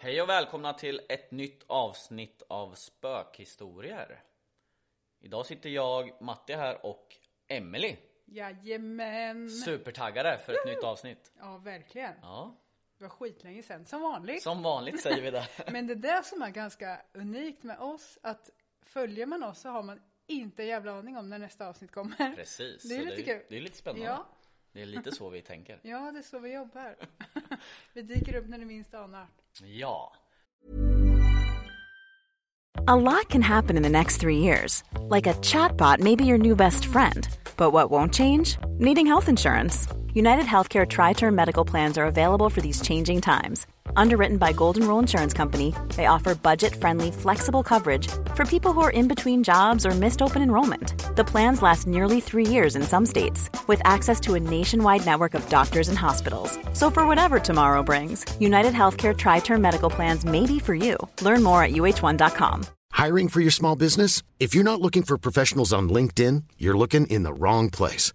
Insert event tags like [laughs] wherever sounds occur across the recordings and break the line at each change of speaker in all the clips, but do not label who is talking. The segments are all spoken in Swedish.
Hej och välkomna till ett nytt avsnitt av Spökhistorier. Idag sitter jag, Matti här och Emily.
Jajamän!
Supertaggade för ett nytt avsnitt.
Ja, verkligen.
Ja,
Det var skitlänge sedan, som vanligt.
som vanligt säger vi
[laughs]
det.
Men det där som är ganska unikt med oss, att följer man oss så har man inte en jävla aning om när nästa avsnitt kommer.
Precis.
Det är
så
lite
det, är,
kul.
det är lite spännande.
Ja.
Det är lite så vi tänker.
Ja, det är så vi jobbar. [laughs] vi dyker upp när du minst anar.
Ja.
A lot can happen in the next three years. Like a chatbot may be your new best friend. But what won't change? Needing health insurance. United Healthcare Tri Term Medical Plans are available for these changing times. Underwritten by Golden Rule Insurance Company, they offer budget friendly, flexible coverage for people who are in between jobs or missed open enrollment. The plans last nearly three years in some states, with access to a nationwide network of doctors and hospitals. So, for whatever tomorrow brings, United Healthcare Tri Term Medical Plans may be for you. Learn more at uh1.com.
Hiring for your small business? If you're not looking for professionals on LinkedIn, you're looking in the wrong place.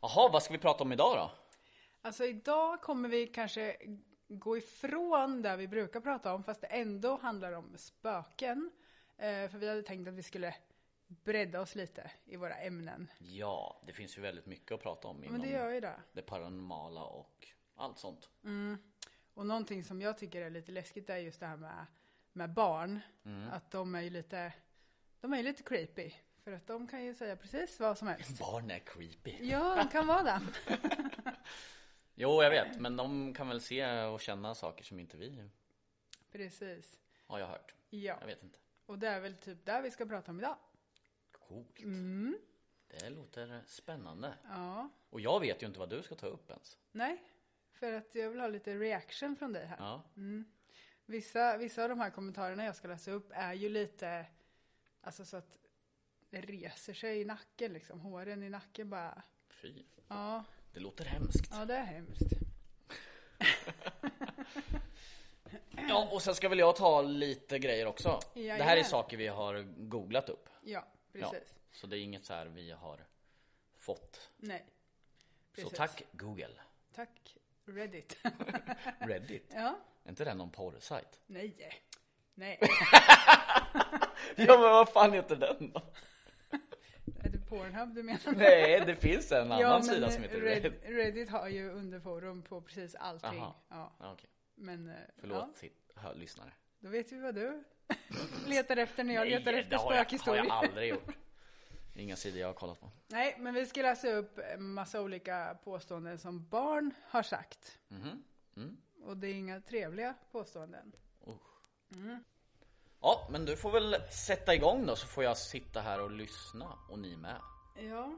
Jaha, vad ska vi prata om idag då?
Alltså idag kommer vi kanske gå ifrån det vi brukar prata om, fast det ändå handlar om spöken. Eh, för vi hade tänkt att vi skulle bredda oss lite i våra ämnen.
Ja, det finns ju väldigt mycket att prata om inom
Men det gör ju det.
det paranormala och allt sånt.
Och någonting som jag tycker är lite läskigt är just det här med, med barn.
Mm.
Att de är ju lite, de är ju lite creepy. För att de kan ju säga precis vad som helst.
Barn är creepy.
Ja, de kan
[laughs]
vara det.
Jo, jag vet, men de kan väl se och känna saker som inte vi
Precis.
har jag hört.
Ja,
Jag vet inte.
och det är väl typ där vi ska prata om idag.
Coolt. Det låter spännande.
Mm. Ja,
Och jag vet ju inte vad du ska ta upp ens.
nej. För att jag vill ha lite reaction från dig här.
Ja.
Vissa, vissa av de här kommentarerna jag ska läsa upp är ju lite, alltså så att det reser sig i nacken liksom. Håren i nacken bara,
Fy.
ja,
Det låter hemskt.
ja det är hemskt.
Ja, och sen ska väl jag ta lite grejer också. det här är
Jajamän.
saker vi har googlat upp.
Ja, precis.
Ja, så det är inget så här vi har fått.
Nej.
Så
Precis.
tack Google.
Tack Reddit. [laughs]
Reddit.
ja,
Är inte det någon
[laughs]
porrsajt?
nej. Nej,
Ja men vad fan heter den då?
är det Pornhub du menar?
Nej, det finns en annan
ja, eh,
sida som heter
Red-
Reddit.
Reddit har ju underforum på precis allting.
Aha.
Ja,
Ja, okej.
men eh,
Förlåt
Ja,
sitt, hö, lyssnare.
då vet vi vad du [laughs] letar efter när jag
Nej,
letar
det
efter
har jag, har
spökhistorier.
jag aldrig gjort. Inga sidor jag har kollat på.
Nej, men vi ska läsa upp en massa olika påståenden som barn har sagt.
Mhm. Mm.
Och det är inga trevliga påståenden.
Ja, men du får väl sätta igång då så får jag sitta här och lyssna och ni med. [laughs]
Ja.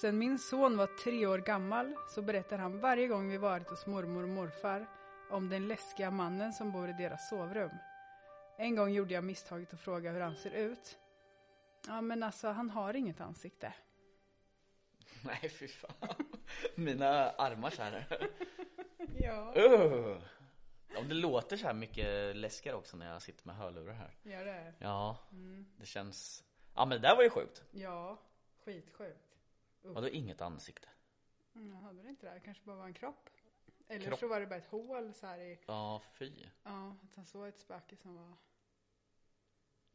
Sen min son var tre år gammal så berättar han varje gång vi varit hos mormor och morfar om den läskiga mannen som bor i deras sovrum. En gång gjorde jag misstaget att fråga hur han ser ut. Ja men alltså han har inget ansikte.
Nej fy fan. Mina armar så här.
Ja,
Uh. Ja, det låter så här mycket läskigare också när jag sitter med hörlurar här.
gör det?
Ja,
Mm.
det känns... Ja men det där var ju sjukt.
Ja, skitsjukt.
Vadå inget ansikte?
Mm, han hade väl inte det? Det kanske bara var en kropp. Eller
Kropp.
så var det bara ett hål så här i
Ja, fy.
Ja, att han såg ett spöke som var...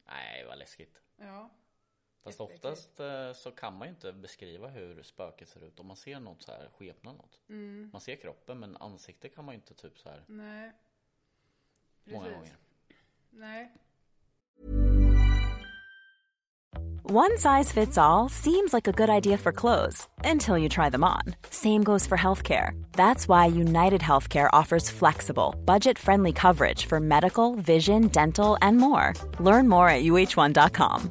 Nej, vad läskigt.
Ja.
Fast oftast eh, så kan man ju inte beskriva hur spöket ser ut om man ser något så här skepnad något. Man ser kroppen men ansikte kan man ju inte typ så här
Nej.
många
Precis.
gånger.
Nej.
One size fits all seems like a good idea for clothes until you try them on. Same goes for healthcare. That's why United Healthcare offers flexible, budget friendly coverage for medical, vision, dental, and more. Learn more at uh1.com.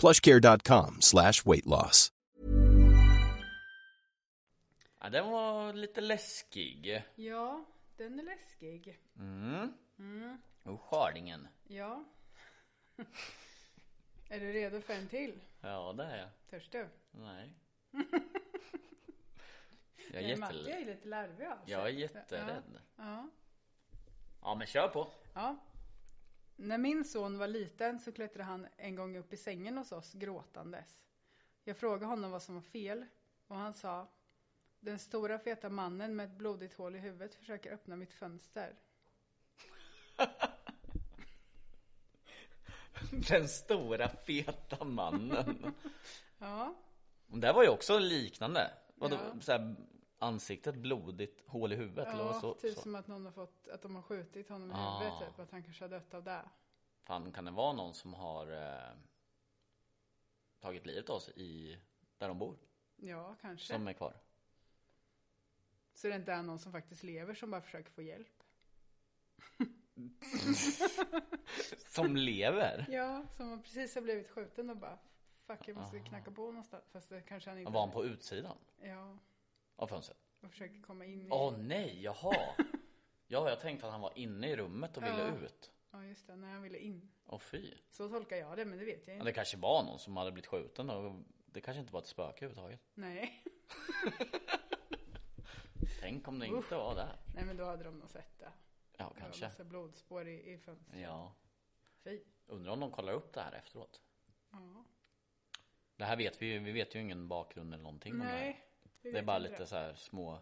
plushcare.com slash weight loss.
Ja, "Ah, den var lite läskig.
Ja, den är läskig.
Mm. Och skörlingen. [laughs]
Ja. är du redo för en till?
Ja det är jag.
Törs du?
Nej. Jag är
Nej, Matti
jätterädd.
är lite larvig av sig.
Jag är jätterädd.
Ja.
Ja men kör på.
ja. När min son var liten så klättrade han en gång upp i sängen hos oss gråtandes. Jag frågade honom vad som var fel och han sa Den stora feta mannen med ett blodigt hål i huvudet försöker öppna mitt fönster.
Den stora feta mannen.
Ja,
Det här var ju också liknande. Vadå,
Ja.
så här, ansiktet blodigt, hål i huvudet eller vad
ja
så,
typ
så.
som att någon har fått, att de har skjutit honom i
Ah.
huvudet typ, att han kanske har dött av det.
Fan, kan det vara någon som har eh, tagit livet av sig i, där de bor?
Ja, kanske.
Som är kvar?
Så det inte är någon som faktiskt lever som bara försöker få hjälp.
Som lever?
Ja, som har precis har blivit skjuten och bara fuck jag måste knacka på någonstans. Fast det kanske han inte...
Ah. Var han på utsidan
Ja,
av fönstret?
och försöker komma in i...
Åh nej, jaha! Ja, jag tänkte att han var inne i rummet och ville ut.
Ja, just det. När han ville in.
Åh fy.
Så tolkar jag det, men det vet jag
Ja,
inte.
det kanske var någon som hade blivit skjuten och det kanske inte var ett spöke överhuvudtaget.
Nej. [laughs]
Tänk om det inte var det.
Nej, men då hade de nog sett det.
Ja,
Det var
kanske.
massa blodspår i, i fönstret.
Ja.
Fy.
Undrar om de kollar upp det här efteråt.
Ja.
Det här vet vi ju, vi vet ju ingen bakgrund eller någonting om det här.
Nej.
Det är
vet
bara
inte
lite så här små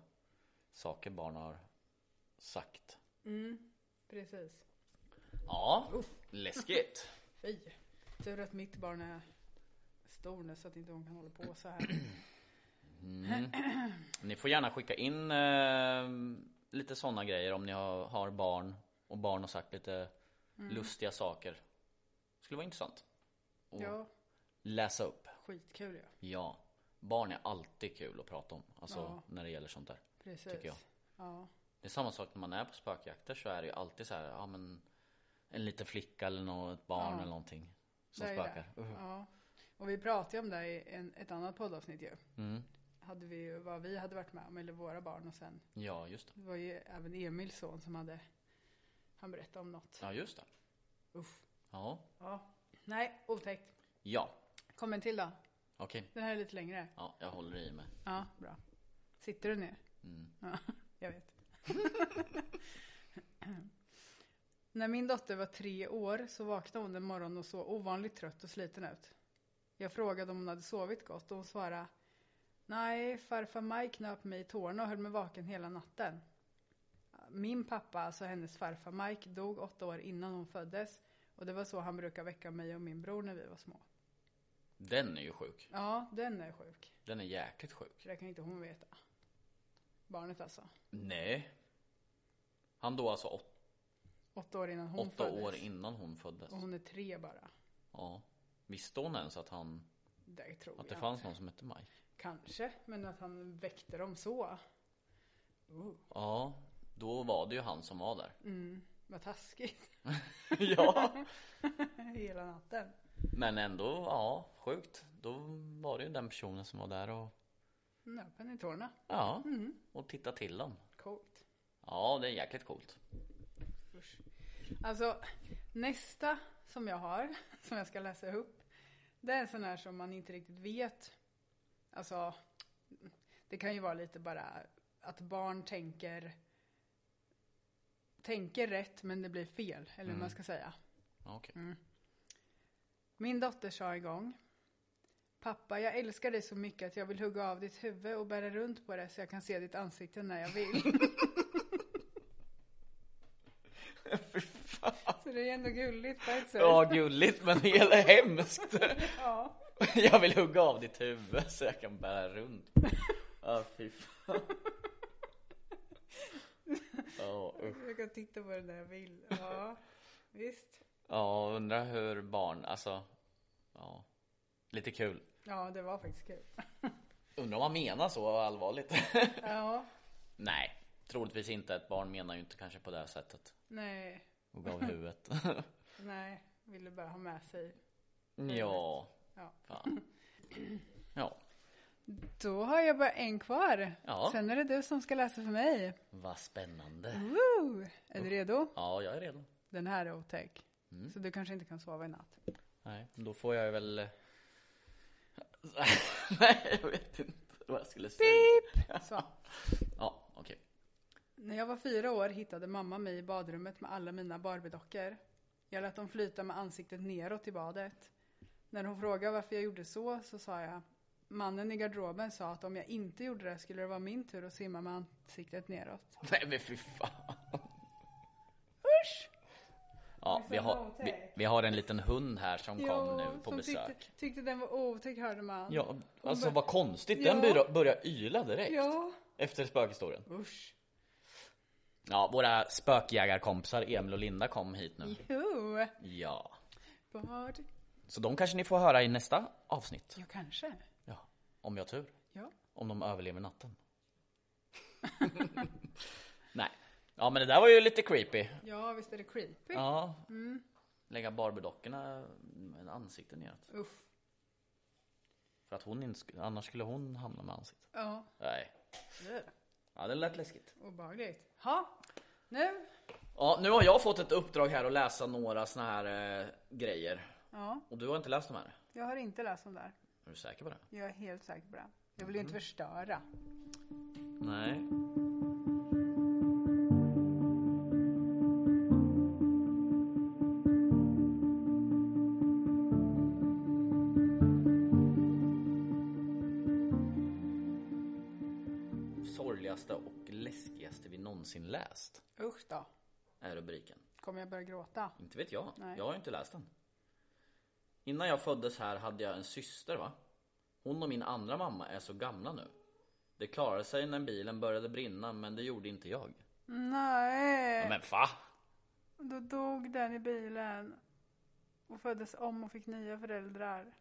saker barn har sagt.
Precis.
Ja, läskigt.
Fy. Tur att mitt barn är stor nu så att inte hon kan hålla på
[clears throat]
så här.
Mm. Ni får gärna skicka in eh, lite sådana grejer om ni har, har barn och barn har sagt lite
Mm.
lustiga saker. Skulle vara intressant. Och
Ja,
läsa upp.
skitkul ja.
Ja, barn är alltid kul att prata om. Alltså
Ja.
när det gäller sånt där.
Precis.
Tycker jag.
Ja.
Det är samma sak när man är på spökjakter så är det ju alltid så här, ja men en liten flicka eller något ett barn eller någonting som
Det är
spökar.
det.
Uh.
Ja. Och vi pratade ju om det i en, ett annat poddavsnitt ju.
Mm.
Hade vi ju vad vi hade varit med om, eller våra barn och sen
Ja, just det.
det var ju även Emils son som hade, han berättade om något.
Ja, just det.
Uff.
Ja,
Ja. Nej, otäckt.
ja,
Kom en till då.
okej.
Den här är lite längre.
Ja, jag håller i mig.
Ja, bra. Sitter du ner? Ja, [laughs] jag vet. När min dotter var tre år så vaknade hon en morgon och såg ovanligt trött och sliten ut. Jag frågade om hon hade sovit gott och hon svarade Nej, farfar Maj knöp mig i tårna och höll mig vaken hela natten. Min pappa, alltså hennes farfar Mike, dog åtta år innan hon föddes och det var så han brukade väcka mig och min bror när vi var små.
Den är ju sjuk.
Ja, den är sjuk.
Den är jäkligt sjuk.
Det kan inte hon veta. Barnet alltså.
Nej. Han då alltså åt,
Åtta år innan hon
åtta
föddes.
år innan hon föddes.
Och hon är tre bara.
Ja. Visste hon ens att han,
Det tror
att det
jag.
fanns någon som hette Maj?
Kanske, men att han väckte dem så.
Ja, då var det ju han som var där.
Vad taskigt. [laughs]
ja.
Hela natten.
Men ändå, ja, sjukt. Då var det ju den personen som var där och,
Nöp henne i tårna.
ja, och tittade till dem.
Coolt.
Ja, det är jäkligt coolt.
Usch. Alltså, nästa [laughs] som jag har, som jag ska läsa upp. Det är en sån här som man inte riktigt vet. Alltså, det kan ju vara lite bara att barn tänker tänker rätt men det blir fel, eller hur man ska säga.
Ja, okej.
Min dotter sa igång. Pappa, jag älskar dig så mycket att jag vill hugga av ditt huvud och bära runt på det så jag kan se ditt ansikte när jag vill. [laughs] så det är ändå gulligt på ett sätt.
Ja, gulligt men det gäller hemskt.
Ja.
[laughs] Jag vill hugga av ditt huvud så jag kan bära runt. Ja, fy fan. Ja, usch.
Jag kan titta på det när jag vill.
[laughs]
Ja, visst.
Ja, undrar hur barn, alltså. Ja, lite kul.
Ja, det var
[laughs]
faktiskt kul.
Undrar om man menar så allvarligt.
Ja,
Nej, troligtvis inte. Ett barn menar ju inte kanske på det här sättet.
nej,
Hugga av
[laughs]
huvudet.
nej, ville bara ha med sig.
ja,
Ja.
fan. Ja,
Då har jag bara en kvar.
Ja.
Sen är det du som ska läsa för mig.
vad spännande.
Woo! Är du redo?
Ja, Mm. jag är redo.
Den här är otäck. Så du kanske inte kan sova i natt.
Nej, då får jag väl... eh, [laughs] Nej, jag vet inte vad jag skulle säga.
Så.
Ja, okej.
När jag var fyra år hittade mamma mig i badrummet med alla mina Barbiedockor. Jag lät dem flyta med ansiktet neråt i badet. När hon frågade varför jag gjorde så, så sa jag Mannen i garderoben sa att om jag inte gjorde det skulle det vara min tur att simma med ansiktet neråt.
Nej men fy fan.
Usch!
Ja,
Det
vi
är så
har, vi, vi har en liten hund här som kom nu på
som
besök.
Tyckte, tyckte den var otäck hörde man.
Ja, alltså vad konstigt.
Ja.
Den börjar, börjar yra direkt.
Ja.
Efter spökhistorien.
Usch.
Ja, våra spökjägarkompisar Emil och Linda kom hit nu.
Jo.
Ja.
Bad.
Så de kanske ni får höra i nästa avsnitt.
Ja, kanske.
Ja. Om jag har tur.
Ja.
Om de överlever natten. [laughs] Nej. Ja men det där var ju lite creepy.
Ja, visst är det creepy?
Ja.
Mm.
Lägga Barbiedockorna med ansiktet neråt.
Uff.
För att hon inte skulle, annars skulle hon hamna med ansiktet.
Ja.
Nej. Ja det lät läskigt.
Obehagligt. Ha. Nu.
Ja nu har jag fått ett uppdrag här att läsa några såna här eh, grejer.
Ja.
Och du har inte läst de här?
Jag har inte läst om där.
Är du säker på det?
Jag är helt säker på det. Jag vill ju inte förstöra.
Nej. Sorgligaste och läskigaste vi någonsin läst
Usch då.
är rubriken.
Kommer jag börja gråta?
Inte vet jag.
Nej.
Jag har ju inte läst den. Innan jag föddes här hade jag en syster va? Hon och min andra mamma är så gamla nu. Det klarade sig när bilen började brinna men det gjorde inte jag.
Eh. Nej.
Men va?
Då dog den i bilen. Och föddes om och fick nya föräldrar.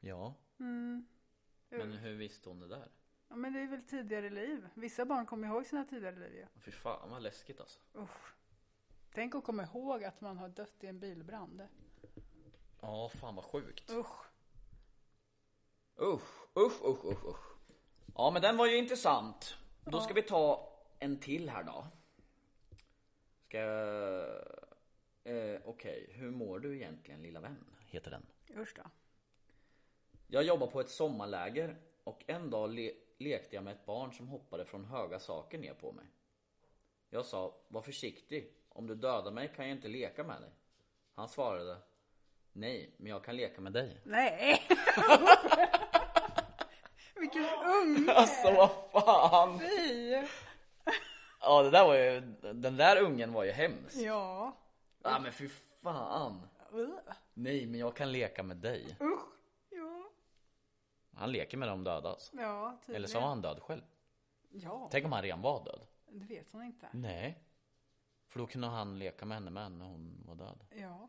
Ja,
Mm.
men hur visste hon det där?
Ja, men det är väl tidigare liv. Vissa barn kommer ihåg sina tidigare liv ju.
Fy fan vad läskigt alltså.
Usch. Tänk att komma ihåg att man har dött i en bilbrand.
Ja, fan vad sjukt.
Usch.
Usch, usch, usch, usch, usch. Ja, men den var ju intressant. Då ska vi ta en till här då. Ska jag... Eh, Okej, hur mår du egentligen lilla vän? Heter den.
Usch då.
Jag jobbar på ett sommarläger och en dag le- lekte jag med ett barn som hoppade från höga saker ner på mig. Jag sa, var försiktig. Om du dödar mig kan jag inte leka med dig. Han svarade, nej, men jag kan leka med dig.
[laughs] Nej! Vilken ung
Alltså vad fan!
tjej!
Ja det där var ju, den där ungen var ju hemsk. Ja
Ja.
ah, men fy fan.
Ugh.
Nej men jag kan leka med dig.
Usch. Ja.
Han leker med de döda alltså.
Ja, tydligen.
Eller så var han död själv.
Ja,
Tänk om han redan var död.
det vet hon inte.
Nej. För då kunde han leka med henne med när hon var död.
Ja.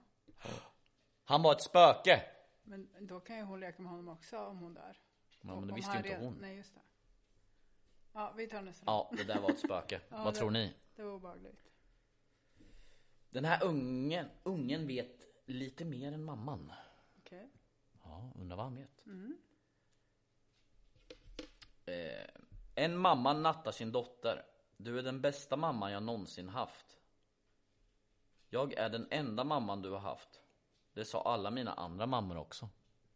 Han var ett spöke!
Men då kan ju hon leka med honom också om hon dör.
Ja, men
Om
det visste ju
han
inte
redan-
hon.
Nej, just det. Ja, vi tar nästa.
Ja det där var ett spöke.
Ja,
Vad
det-
tror ni?
[laughs] Det var obehagligt.
Den här ungen, ungen vet lite mer än mamman.
Okej.
Ja, undrar vad han vet. Eh, en mamma nattar sin dotter. Du är den bästa mamman jag någonsin haft. Jag är den enda mamman du har haft. Det sa alla mina andra mammor också.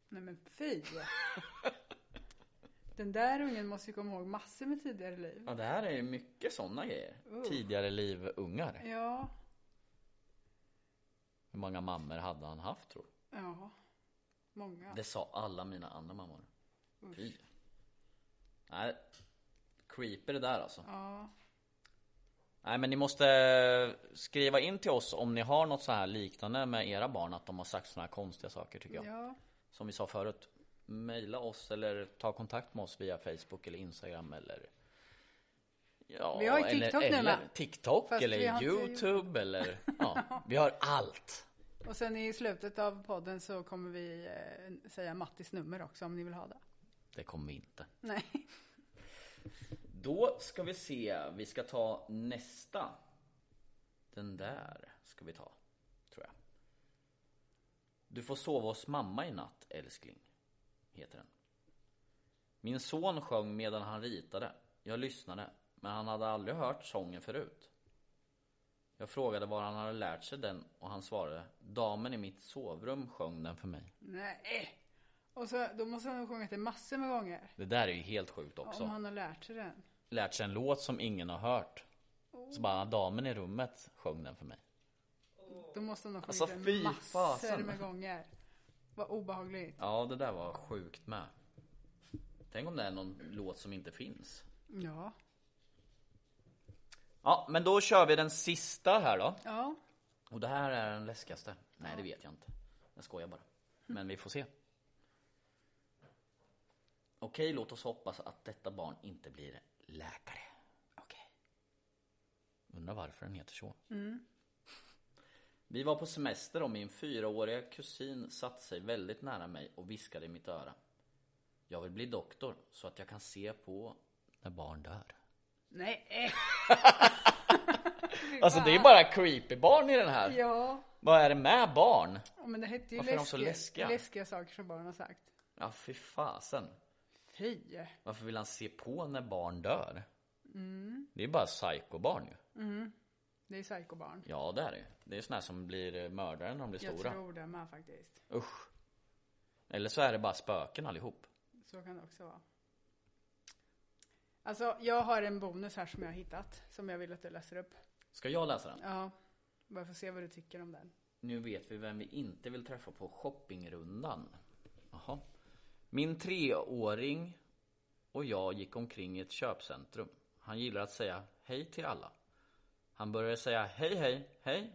Nej men fy! Den där ungen måste ju komma ihåg massor med tidigare liv.
Ja, det här är ju mycket sådana grejer. Tidigare liv-ungar.
Ja,
Hur många mammor hade han haft tror du?
ja. Många.
Det sa alla mina andra mammor. Fy. Nej, creepy det där alltså.
Ja,
Nej men ni måste skriva in till oss om ni har något så här liknande med era barn att de har sagt såna här konstiga saker tycker jag.
ja.
Som vi sa förut. Mejla oss eller ta kontakt med oss via Facebook eller Instagram eller Ja,
Vi har ju TikTok nu
eller, eller
med.
TikTok
Fast vi har
eller
inte-
Youtube
[laughs]
eller ja, vi har allt.
Och sen i slutet av podden så kommer vi eh, säga Mattis nummer också om ni vill ha det.
Det kommer vi inte.
Nej. [laughs]
Då ska vi se, vi ska ta nästa. Den där ska vi ta, tror jag. Du får sova hos mamma i natt älskling, heter den. Min son sjöng medan han ritade. Jag lyssnade, men han hade aldrig hört sången förut. Jag frågade var han hade lärt sig den och han svarade Damen i mitt sovrum sjöng den för mig.
Nej. Och så, då måste han ha sjungit det massor med gånger.
Det där är ju helt sjukt också.
Om han har lärt sig den.
lärt sig en låt som ingen har hört. Så bara damen i rummet sjöng den för mig.
Då måste han ha sjungit
Alltså,
den
fy
massor
fasen.
med gånger. Vad obehagligt.
Ja, det där var sjukt med. Tänk om det är någon låt som inte finns.
Ja.
Ja, men då kör vi den sista här då.
Ja.
Och det här är den läskigaste. Nej, det vet jag inte. Jag skojar bara. Men vi får se. Okej, låt oss hoppas att detta barn inte blir läkare. Okej. Undrar varför den heter så. Vi var på semester och min fyraåriga kusin satte sig väldigt nära mig och viskade i mitt öra. Jag vill bli doktor så att jag kan se på när barn dör.
Nej. eh,
Alltså det är bara creepy barn i den här.
Ja.
Vad är det med barn?
Ja, Men det hette
Äh.
ju
Varför är de så läskiga?
läskiga saker som barn har sagt.
Ja, fy fasen.
Fy.
Varför vill han se på när barn dör?
Mm.
Det är bara psykobarn ju.
Det är psykobarn.
Ja det är det ju. Det är såna här som blir eh, mördare när de blir
Jag
stora.
tror det med faktiskt.
Usch. Eller så är det bara spöken allihop.
Så kan det också vara. Alltså, jag har en bonus här som jag har hittat. Som jag vill att du läser upp.
Ska jag läsa den?
Ja. Bara får se vad du tycker om den.
Nu vet vi vem vi inte vill träffa på shoppingrundan. Jaha. Min treåring och jag gick omkring i ett köpcentrum. Han gillar att säga hej till alla. Han började säga hej, hej, hej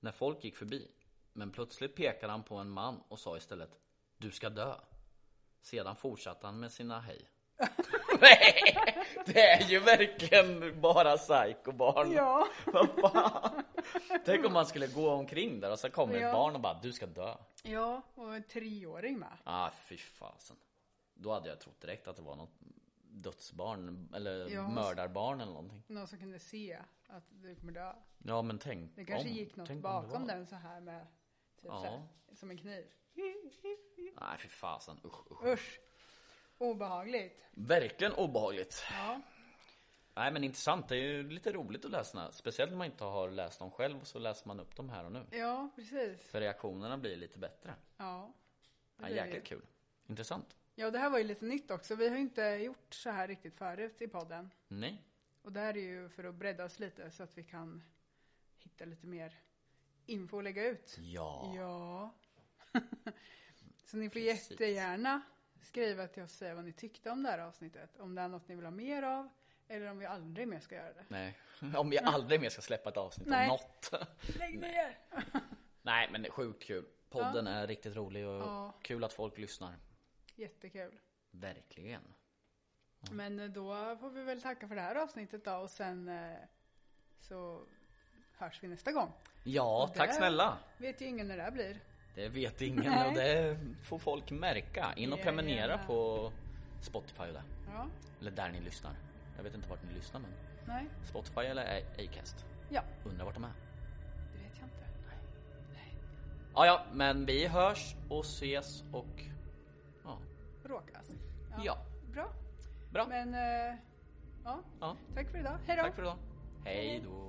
när folk gick förbi. Men plötsligt pekade han på en man och sa istället Du ska dö. Sedan fortsatte han med sina hej. [laughs] Nej, det är ju verkligen bara psykobarn.
Ja.
Vad fan? Tänk om man skulle gå omkring där och så kommer
Mm. Ja.
ett barn och bara du ska dö.
Ja, och en treåring med.
Ah fy fasen. Då hade jag trott direkt att det var något dödsbarn eller
Ja, men-
mördarbarn eller någonting.
Någon som kunde se att du kommer dö.
Ja men tänk
Det kanske
om,
gick något
tänk om det
bakom
var-
den så här med typ
Ja.
så här, som en kniv.
Nej fy fasen usch, usch.
Usch! Obehagligt.
Verkligen obehagligt.
Ja.
Nej men intressant, det är ju lite roligt att läsa den här. Speciellt när man inte har läst dem själv så läser man upp dem här och nu.
Ja, precis.
För reaktionerna blir lite bättre.
Ja.
Ja,
blir det.
jäkligt kul. Intressant.
ja, det här var ju lite nytt också. Vi har ju inte gjort så här riktigt förut i podden.
Nej.
Och det här är ju för att bredda oss lite så att vi kan hitta lite mer info att lägga ut.
Ja.
Ja. [laughs] så ni får
Precis.
jättegärna skriva till oss och säga vad ni tyckte om det här avsnittet. Om det är något ni vill ha mer av eller om vi aldrig mer ska göra det.
Nej. [laughs] Om vi aldrig mer ska släppa ett avsnitt
Nej.
om något.
Lägg ner!
Nej men det är sjukt kul. Podden är riktigt rolig och
Ja.
kul att folk lyssnar.
Jättekul.
Verkligen.
Men eh, då får vi väl tacka för det här avsnittet då och sen eh, så hörs vi nästa gång.
Ja,
Och
tack
där-
snälla.
Vet ju ingen när det här blir.
Det vet ingen och det får folk märka. In och
Ja,
prenumerera
gärna.
på Spotify och där.
Ja,
Eller där ni lyssnar. Jag vet inte vart ni lyssnar men
nej,
Spotify eller A- Acast.
ja,
Undrar vart de är.
det vet jag inte.
Ja, ja, men vi hörs och ses och ja,
Råkas.
Ja.
Bra.
bra.
Men eh, ja,
Ja,
tack för idag. Hej då.
tack för idag. Hej då.